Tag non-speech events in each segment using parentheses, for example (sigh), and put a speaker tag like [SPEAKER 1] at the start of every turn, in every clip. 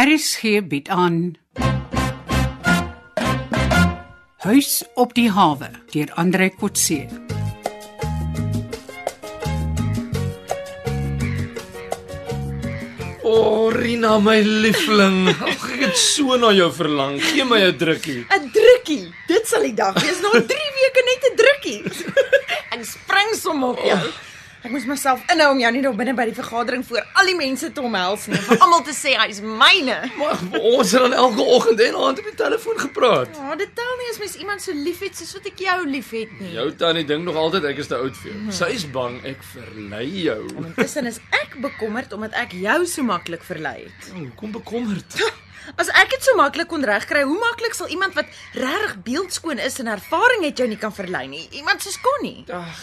[SPEAKER 1] Aris gee bied aan. Huis op die hawe deur Andre Kotse.
[SPEAKER 2] O, oh, Rina my liefling, Ag, ek het so na jou verlang. Gee my 'n drukkie.
[SPEAKER 3] 'n Drukkie. Dit sal die dag wees. Na (laughs) 3 weke net 'n drukkie. (laughs) ek spring sommer op jou. Ek moes myself inhou om jou nie daar binne by die vergadering voor al die mense te omhels nie, vir almal te sê hy's myne.
[SPEAKER 2] Maar ons het dan elke oggend en aand op die telefoon gepraat.
[SPEAKER 3] Ja, dit tel nie as mens iemand so liefhet soos wat ek jou liefhet nie.
[SPEAKER 2] Jou tannie dink nog altyd ek is te oud vir jou. Sy is bang ek verlei jou.
[SPEAKER 3] Intussen is ek bekommerd omdat ek jou so maklik verlei het.
[SPEAKER 2] Oh, Kom bekommerd.
[SPEAKER 3] As ek dit so maklik kon regkry, hoe maklik sal iemand wat regtig beeldskoon is en ervaring het jou nie kan verlei nie? Iemand soos Connie.
[SPEAKER 2] Ag,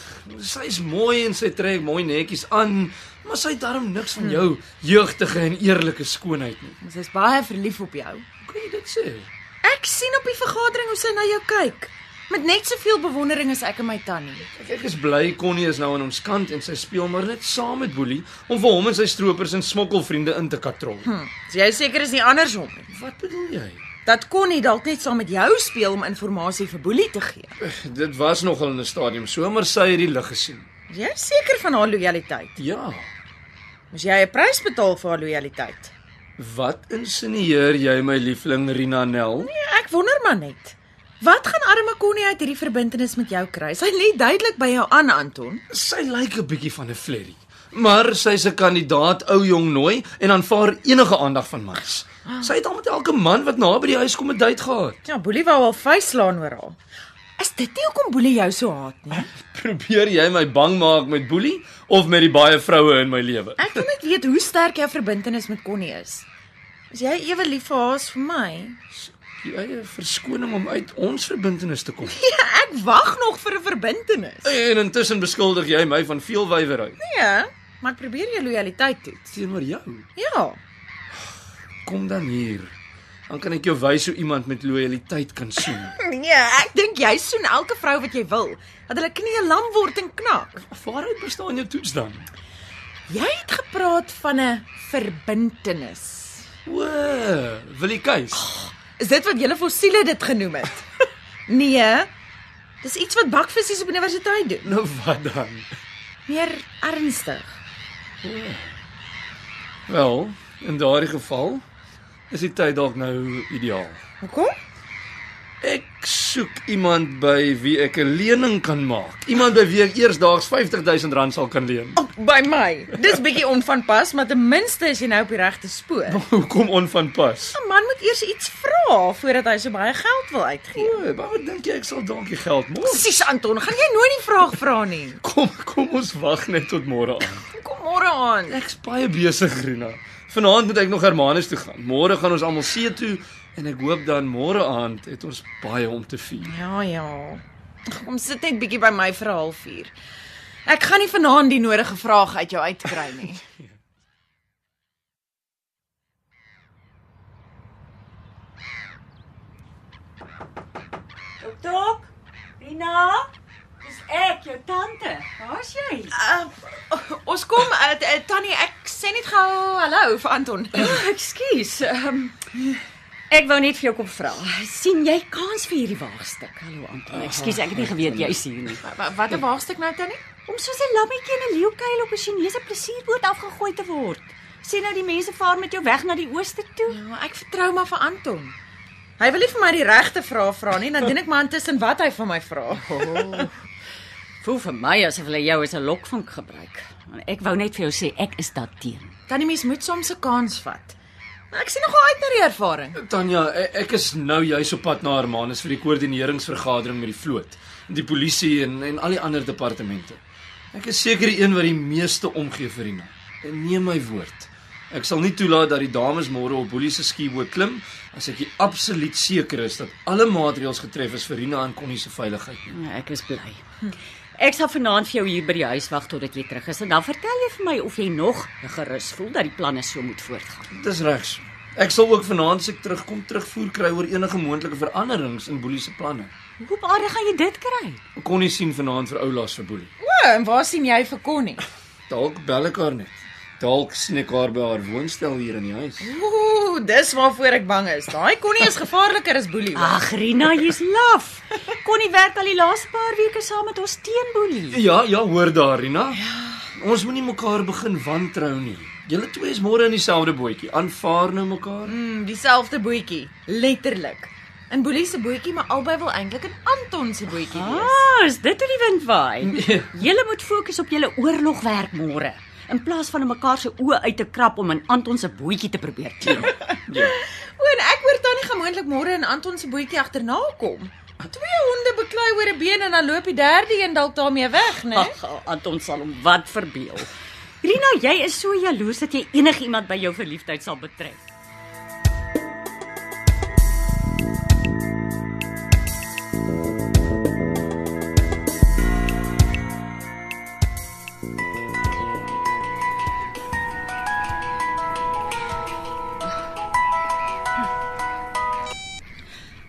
[SPEAKER 2] sy's mooi en sy trek mooi netjies aan, maar sy het darm niks van jou jeugtige en eerlike skoonheid nie.
[SPEAKER 3] Ons is baie verlief op jou.
[SPEAKER 2] Hoe kan jy dit sê?
[SPEAKER 3] Ek sien op die vergadering hoe sy na jou kyk. Met net soveel bewondering as ek en my tannie.
[SPEAKER 2] Ek, ek is bly Connie is nou aan ons kant en sy speel maar net saam met Boelie om vir hom en sy stroopers en smokkelvriende in te katrol.
[SPEAKER 3] Hm, so jy seker is nie andersom nie.
[SPEAKER 2] Wat bedoel jy?
[SPEAKER 3] Dat Connie dalk net saam met jou speel om inligting vir Boelie te gee.
[SPEAKER 2] (laughs) Dit was nogal in 'n stadium so, maar sy het die lig gesien.
[SPEAKER 3] Is Jy seker van haar lojaliteit.
[SPEAKER 2] Ja.
[SPEAKER 3] Moes jy 'n prys betaal vir haar lojaliteit?
[SPEAKER 2] Wat insinieer jy my liefling Rina Nel?
[SPEAKER 3] Nee, ek wonder maar net. Wat gaan arme Connie uit hierdie verbintenis met jou kry? Sy lê duidelik by jou aan, Anton.
[SPEAKER 2] Sy lyk 'n bietjie van 'n flerry, maar sy's 'n kandidaat ou jong nooi en aanvaar enige aandag van mans. Sy het al met elke man wat naby die huis kom 'n date gehad.
[SPEAKER 3] Ja, Boelie wou al vuislaan oor haar. Is dit nie hoekom Boelie jou so haat nie?
[SPEAKER 2] (laughs) Probeer jy my bang maak met boelie of met die baie vroue in my lewe?
[SPEAKER 3] Ek wil net weet hoe sterk jou verbintenis met Connie is. Is jy ewe lief vir haar as vir my?
[SPEAKER 2] Jy eie verskoning om uit ons verbintenis te kom.
[SPEAKER 3] (laughs) Ja, ek wag nog vir 'n verbintenis.
[SPEAKER 2] (laughs) En intussen beskuldig jy my van veel wywery
[SPEAKER 3] Nee, maar ek probeer jou lojaliteit toets.
[SPEAKER 2] teenoor jou.
[SPEAKER 3] Ja,
[SPEAKER 2] Kom dan hier. Dan kan ek jou wys hoe iemand met lojaliteit kan (laughs) soen.
[SPEAKER 3] nee, ek dink jy soen elke vrou wat jy wil, dat hulle knieë lam word en knak.
[SPEAKER 2] Waaruit bestaan jou toets dan?
[SPEAKER 3] Jy het gepraat van 'n verbintenis.
[SPEAKER 2] O, wil jy keus?
[SPEAKER 3] Is dit wat julle fossiele dit genoem het? (laughs) Nee. Dis iets wat bakvissies op universiteit doen.
[SPEAKER 2] (laughs) Nou wat dan?
[SPEAKER 3] Meer ernstig.
[SPEAKER 2] Wel, in daardie geval is die tyd dalk nou ideaal.
[SPEAKER 3] Hoekom?
[SPEAKER 2] Ek soek iemand by wie ek 'n lening kan maak. Iemand by wie ek eersdaags R50000 rand sal kan leen. (laughs)
[SPEAKER 3] Oh, by my. Dis bietjie onvanpas, maar ten minste is jy nou op die regte spoor.
[SPEAKER 2] Hoekom onvanpas?
[SPEAKER 3] 'n Man moet eers iets vra voordat hy so baie geld wil uitgee.
[SPEAKER 2] O, maar wat dink jy ek sal dankie geld mors?
[SPEAKER 3] Presies, Anton, gaan jy nooit die vraag vra nie.
[SPEAKER 2] Kom, kom ons wag net tot môre aan.
[SPEAKER 3] Kom môre aan.
[SPEAKER 2] Ek's baie besig, Rina. Vanaand moet ek nog Hermanus toe gaan. Môre gaan ons almal see toe en ek hoop dan môre aand het ons baie om te vier.
[SPEAKER 3] Ja, ja. Kom sit net bietjie by my vir 'n halfuur. Ek gaan nie vanaand die nodige vraag uit jou uitkry nie.
[SPEAKER 4] Dok, Rina, dis ek, jou tante. Waar's jy?
[SPEAKER 3] Uh, ons kom uh, t- uh, Tannie, ek sê net gou hallo vir
[SPEAKER 4] (laughs)
[SPEAKER 3] Anton.
[SPEAKER 4] Oh, Ekskuus. Ehm ek wou net vir jou kom vra. sien jy kans vir hierdie waagstuk? Hallo
[SPEAKER 3] Oh,
[SPEAKER 4] Anton. Ekskuus, ek het nie geweet jy's hier nie.
[SPEAKER 3] Wa- Wat 'n waagstuk nou Tannie?
[SPEAKER 4] Om soos 'n lammetjie in 'n leeukuil op 'n Chinese plesierboot afgegooi te word. Sien nou die mense vaar met jou weg na die ooste toe.
[SPEAKER 3] Ja, ek vertrou maar vir Anton. Hy wil nie vir my die regte vrae vra nie, dan doen ek maar intussen wat hy van my vra.
[SPEAKER 4] Oh. Voel vir my asof hulle jou as 'n lokvink gebruik. Ek wou net vir jou sê ek is daarteen.
[SPEAKER 3] Tannie mens moet soms 'n kans vat. Maar ek sien nogal uit na die ervaring.
[SPEAKER 2] Tanya, e- ek is nou juis op pad na Hermanus vir die koördineringsvergadering met die vloot, die polisie en en al die ander departemente. Ek is seker die een wat die meeste omgee vir Rina. En neem my woord. Ek sal nie toelaat dat die dames môre op Boelie se skieboot klim as ek nie absoluut seker is dat alle maatreëls getref is vir Rina en Connie se veiligheid. nie.
[SPEAKER 4] Ja, Ek is bly. Ek sal vanaand vir jou hier by die huis wag totdat jy terug is en dan vertel jy vir my of jy nog gerus voel dat die planne so moet voortgaan.
[SPEAKER 2] Dis regs. Ek sal ook vanaand se terugkom terugvoer kry oor enige moontlike veranderings in Boelie se planne.
[SPEAKER 4] Hoe op aarde gaan jy dit kry?
[SPEAKER 2] Connie sien vanaand vir Oulaas vir Boelie.
[SPEAKER 3] O, en waar sien jy vir Connie?
[SPEAKER 2] Dalk bel ek haar net. Dalk snik haar by haar woonstel hier in die huis.
[SPEAKER 3] Ooh, Ooh, dis waarvoor ek bang is. Daai konnie is gevaarliker as Boelie. hoor.
[SPEAKER 4] Ag Rina, jy's (laughs) laf. Connie werk al die laaste paar weke saam met ons teenboelie.
[SPEAKER 2] Ja, ja, hoor daar, Rina. Ons moenie mekaar begin wantrou nie. Julle twee is môre in dieselfde bootjie. Aanvaar nou mekaar.
[SPEAKER 3] Mm, dieselfde bootjie, letterlik. In Boelie se bootjie, maar albei wil eintlik in Anton se bootjie wees.
[SPEAKER 4] Ah, is dit hoe die wind waai? Julle moet fokus op julle oorlogwerk môre in plaas van om mekaar se oë uit te krap om in Anton se bootjie te probeer klim.
[SPEAKER 2] Ja.
[SPEAKER 3] O, en ek hoor tannie gaan moontlik môre in Anton se bootjie agterna kom. Twee honde beklei oor 'n been en dan loop die derde een dalk daarmee weg, né?
[SPEAKER 4] Ag, Anton sal hom wat verbeel. Rina, jy is so jaloers dat jy enigiemand by jou verliefdheid sal betrek.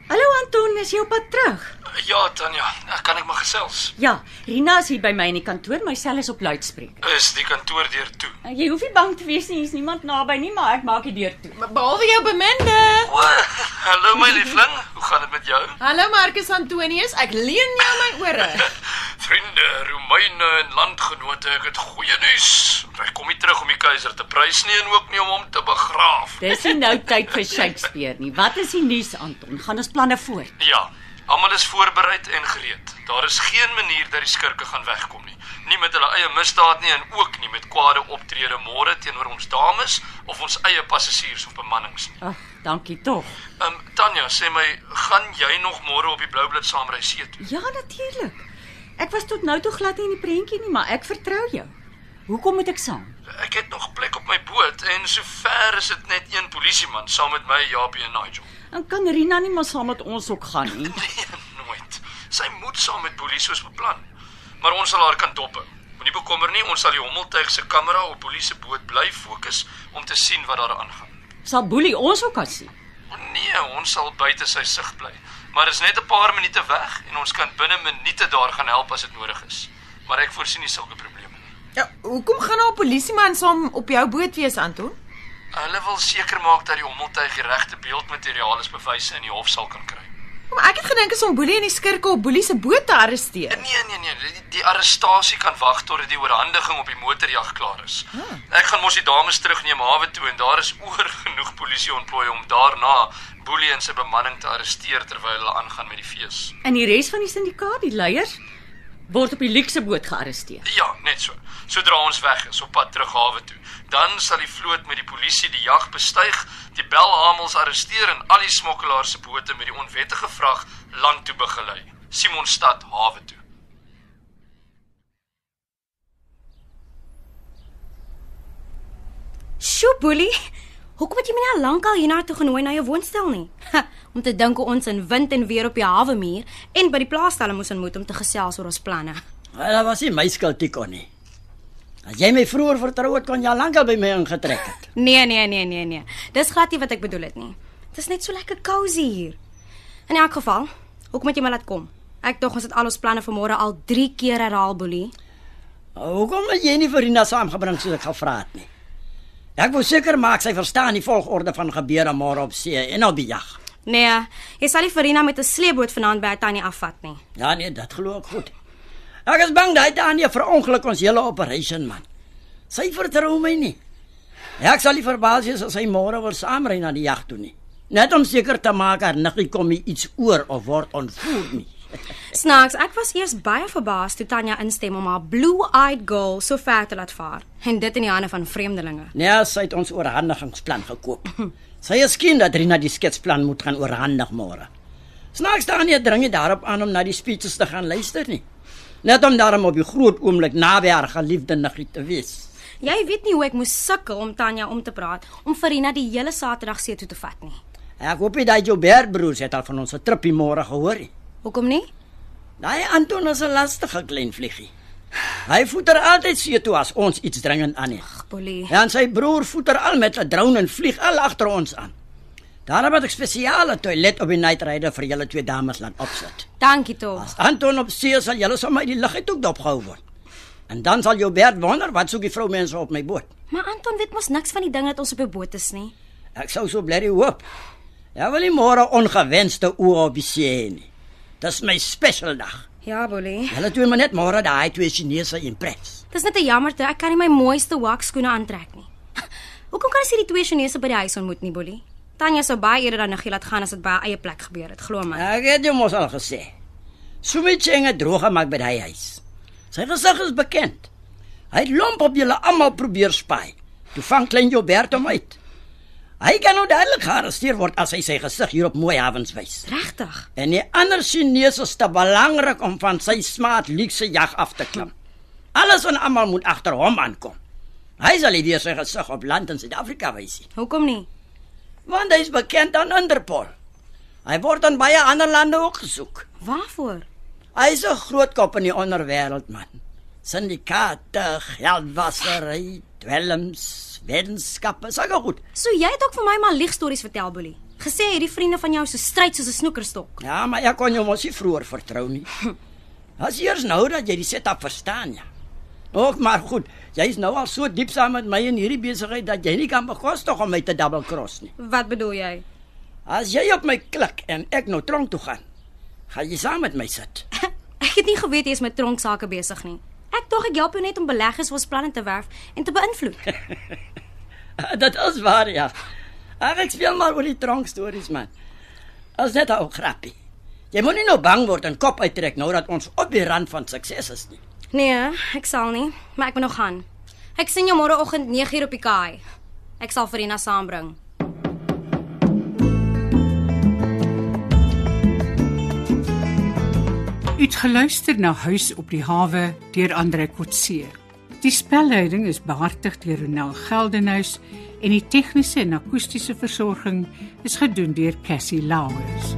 [SPEAKER 4] Hallo Anton, is jy op pad terug?
[SPEAKER 2] Ja, Tanya, ek kan ek maar gesels.
[SPEAKER 4] Ja, Rina is hier by my in die kantoor, my sel is op luidspreek.
[SPEAKER 2] Is die kantoor deur toe?
[SPEAKER 4] Jy hoef nie bang te wees nie, hier's niemand naby nie, maar ek maak die deur toe.
[SPEAKER 3] Be- Behalwe jou beminde.
[SPEAKER 2] O, (laughs) hallo my liefling. Hoe gaan dit met jou?
[SPEAKER 3] Hallo Marcus Antonius, ek leen jou my ore.
[SPEAKER 2] Vriende, Romeine en landgenote, ek het goeie nuus. Ek kom nie terug om die keiser te prys nie en ook nie om hom te begraaf.
[SPEAKER 4] Dis nie nou tyd vir Shakespeare nie. Wat is die nuus, Anton? Gaan ons planne voort?
[SPEAKER 2] Ja, almal is voorberei en gereed. Daar is geen manier dat die skurke gaan wegkom nie. Nie met hulle eie misdaad nie en ook nie met kwade optrede môre teenoor ons dames of ons eie passasiers of bemannings nie.
[SPEAKER 4] Ag, dankie tog.
[SPEAKER 2] Ehm um, Tanya, sê my, gaan jy nog môre op die Bloublad saamry see toe?
[SPEAKER 4] Ja, natuurlik. Ek was tot nou toe glad nie in die prentjie nie, maar ek vertrou jou. Hoekom moet ek saam?
[SPEAKER 2] Ek het nog plek op my boot en sover is dit net een polisieman saam met my Japie en Nigel.
[SPEAKER 4] En kan Rina nie maar saam met ons ook gaan nie?
[SPEAKER 2] Nee, (laughs) nooit. Sy moet saam met Boelie soos beplan. Maar ons sal haar kan dop hou. Moenie bekommer nie, ons sal die hommeltuig se kamera op Boelie se boot bly fokus om te sien wat daar aangaan.
[SPEAKER 4] Sal Boelie ons ook kan sien?
[SPEAKER 2] Nee, ons sal buite sy sig bly. Maar is net 'n paar minute weg en ons kan binne minute daar gaan help as dit nodig is. Maar ek voorsien nie sulke probleme nie.
[SPEAKER 3] Ja, hoekom gaan daar 'n polisieman saam op jou boot wees, Anton?
[SPEAKER 2] Hulle wil seker maak dat die hommeltuig die regte beeldmateriaal as bewyse in die hof sal kan kry.
[SPEAKER 3] Maar ek het gedink is om Boelie en die skurke op Boelie se boot te arresteer.
[SPEAKER 2] Nee nee nee, die, die arrestasie kan wag totdat die oorhandiging op die motorjag klaar is. Ek gaan mos die dames terugneem hawe toe en daar is oor genoeg polisie ontplooi om daarna Boelie en sy bemanning te arresteer terwyl hulle aangaan met die fees.
[SPEAKER 4] En die res van die sindikaat, die leiers, word op die Luxe boot gearresteer.
[SPEAKER 2] Ja, net so. Sodra ons weg is op pad terug hawe toe, dan sal die vloot met die polisie die jag bestyg, die belhamels arresteer en al die smokkelaars se bote met die onwettige vrag land toe begelei. Simonstad hawe toe.
[SPEAKER 5] Sjoe, Boelie. Hoekom het jy my nou lankal hiernatoe genooi na jou woonstel nie? Ha, om te dink hoe ons in wind en weer op die hawe muur en by die plaasstalle moes ontmoet om te gesels oor ons planne.
[SPEAKER 6] Maar dit was nie my skuld nie kon nie. As jy my vroeër vertrou het, kon jy al lankal by my ingetrek het.
[SPEAKER 5] Nee, nee, nee, nee, nee. Dis glad nie wat ek bedoel het nie. Dit is net so lekker cosy hier. In elk geval, hoekom het jy my laat kom? Ek dink ons het al ons planne vir môre al 3 keer herhaal, Boelie.
[SPEAKER 6] Hoekom het jy nie vir Rina saamgebring soos ek gevra het nie? Ek wou seker maak sy verstaan die volgorde van gebeure môre op see en op die jag.
[SPEAKER 5] Nee, jy sal nie Verena met 'n sleeboot vanaand by haar tannie afvat nie.
[SPEAKER 6] Ja nee, dit glo ek goed. Ek is bang dat hy aan jou verongeluk ons hele operation man. Sy vertrou my nie. Ek sal nie verbaas wees as hy môre wil saamry na die jag toe nie. Net om seker te maak haar niggie kom nie iets oor of word ontvoer nie.
[SPEAKER 5] Snaaks, ek was eers baie verbaas toe Tanya instem om haar blue-eyed girl so ver te laat vaar en dit in die hande van vreemdelinge.
[SPEAKER 6] Nee, sy het ons oorhandigingsplan gekoop. Sy is skien dat Rina die sketsplan moet gaan oorhandig môre. Snaaks daar nie dring nie daarop aan om na die speeches te gaan luister nie. Net om daarom op die groot oomblik naby haar geliefde niggie te wees.
[SPEAKER 5] Jy weet nie hoe ek moes sukkel om Tanya om te praat om Verena die hele Saterdag see toe te vat nie.
[SPEAKER 6] Ek hoop nie dat jou Bertbroers het al van ons tripie môre gehoor nie.
[SPEAKER 5] Hoekom nie?
[SPEAKER 6] Daai Anton is 'n lastige klein vliegie. Hy voeter altyd see toe as ons iets dringend aan het.
[SPEAKER 5] Ag, Polly.
[SPEAKER 6] Ja, en sy broer voeter al met 'n drone en vlieg al agter ons aan. Daarom het ek spesiale toilet op die Night Rider vir julle twee dames laat opsit.
[SPEAKER 5] Dankie tog.
[SPEAKER 6] As Anton op see is, sal julle sommer uit die lug uit ook dopgehou word. En dan sal jou Bert wonder wat soek die vroumense op my boot.
[SPEAKER 5] Maar Anton weet mos niks van die ding dat ons op 'n boot is nie.
[SPEAKER 6] Ek sou so bly hoop. Ja, wil nie môre ongewenste oë op die see hê nie. Dis my special dag.
[SPEAKER 5] Ja, Boelie.
[SPEAKER 6] Hulle doen maar net môre daai twee Chinese impress.
[SPEAKER 5] Dis net 'n jammerte, ek kan nie my mooiste wakskoene aantrek nie. (laughs) Hoekom kan ons hierdie twee Chinese by die huis ontmoet nie, Boelie? Tanya sou baie eerder dan Nigel laat gaan as dit by haar eie plek gebeur het, glo my.
[SPEAKER 6] Ek het jou mos al gesê. Sumicheng het droog gemaak by daai huis. Sy gesig is bekend. Hy het lomp op julle almal probeer spy. Toe vang klein Jobert hom uit. Hy kan nou dadelik gearresteer word as hy sy gesig hier op Mooi Havens wys.
[SPEAKER 5] Regtig?
[SPEAKER 6] En die ander Chinese is te belangrik om van sy smaat luukse jag af te klim. Alles en almal moet agter hom aankom. Hy sal nie weer sy gesig op land in Suid-Afrika wys nie,
[SPEAKER 5] Hoekom nie?
[SPEAKER 6] want hy is bekend aan Interpol. Hy word aan baie ander lande ook gesoek.
[SPEAKER 5] Waarvoor?
[SPEAKER 6] Hy is 'n groot kop in die onderwêreld, man. Syndikaate, geldwasery, dwelms, wetenskappe, sulke goed.
[SPEAKER 5] So jy het ook vir my maar liegstories vertel, Boelie. Gesê hierdie vriende van jou so stryd soos 'n snoekerstok.
[SPEAKER 6] Ja, maar ek kon jou mos nie vroeër vertrou nie. As eers nou dat jy die setup verstaan, ja. Ook maar goed, jy is nou al so diep saam met my in hierdie besigheid dat jy nie kan bekostig om my te double cross nie.
[SPEAKER 5] Wat bedoel jy?
[SPEAKER 6] As jy op my klik en ek nou tronk toe gaan, gaan jy saam met my sit.
[SPEAKER 5] (laughs) Ek het nie geweet jy is met tronksaake besig nie. Ek dink ek help jou net om beleggers vir ons planne te werf en te beïnvloed. (laughs)
[SPEAKER 6] (laughs) Dit is waar, ja. Ag, ek speel maar oor die tronk stories, man. As net 'n ou grappie. Jy moenie nou bang word en kop uittrek nou dat ons op die rand van sukses is nie.
[SPEAKER 5] Nee, ek sal nie, maar ek moet nog gaan. Ek sien jou môreoggend 9uur op die kaai. Ek sal Verena saambring.
[SPEAKER 1] Uitgeluister na Huis op die hawe deur Andre Kotse. Die spelleiding is behartig deur Ronel Geldenhuys en die tegniese en akoestiese versorging is gedoen deur Cassie Lauers.